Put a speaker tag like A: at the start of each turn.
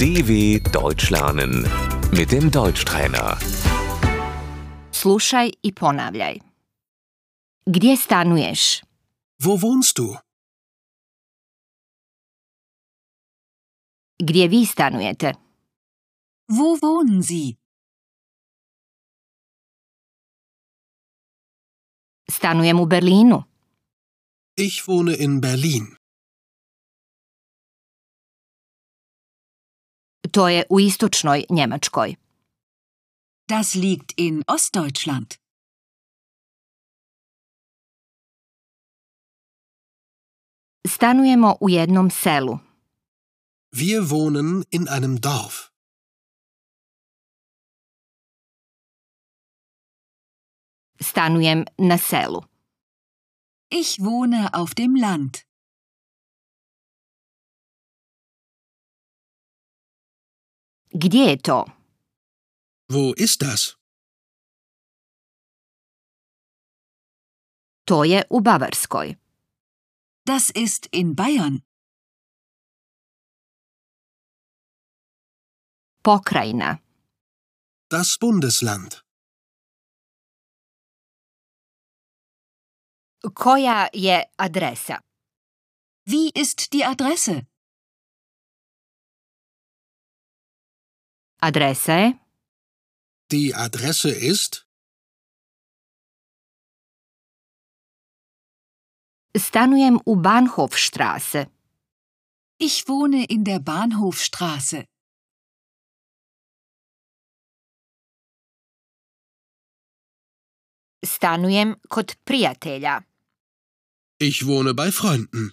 A: DW Deutsch lernen mit dem Deutschtrainer.
B: Slušaj i ponavljaj. Gdje stanuješ?
C: Wo wohnst du?
B: Gdje vi stanujete?
D: Wo wohnen Sie?
B: Stanujem u Berlinu.
C: Ich wohne in Berlin.
B: To je u istočnoj Njemačkoj.
D: Das liegt in Ostdeutschland.
B: Stanujemo u jednom selu.
C: Wir wohnen in einem Dorf.
B: Stanujem na selu.
D: Ich wohne auf dem Land.
B: Gdje je to?
C: Wo ist das?
B: To je u Bavarskoj.
D: Das ist in Bayern.
B: Pokrajina.
C: Das Bundesland.
B: Koja je adresa?
D: Wie ist die Adresse?
B: Adresa je
C: Die Adresse ist
B: Stanujem u Bahnhofstraße.
D: Ich wohne in der Bahnhofstraße.
B: Stanujem kod prijatelja.
C: Ich wohne bei Freunden.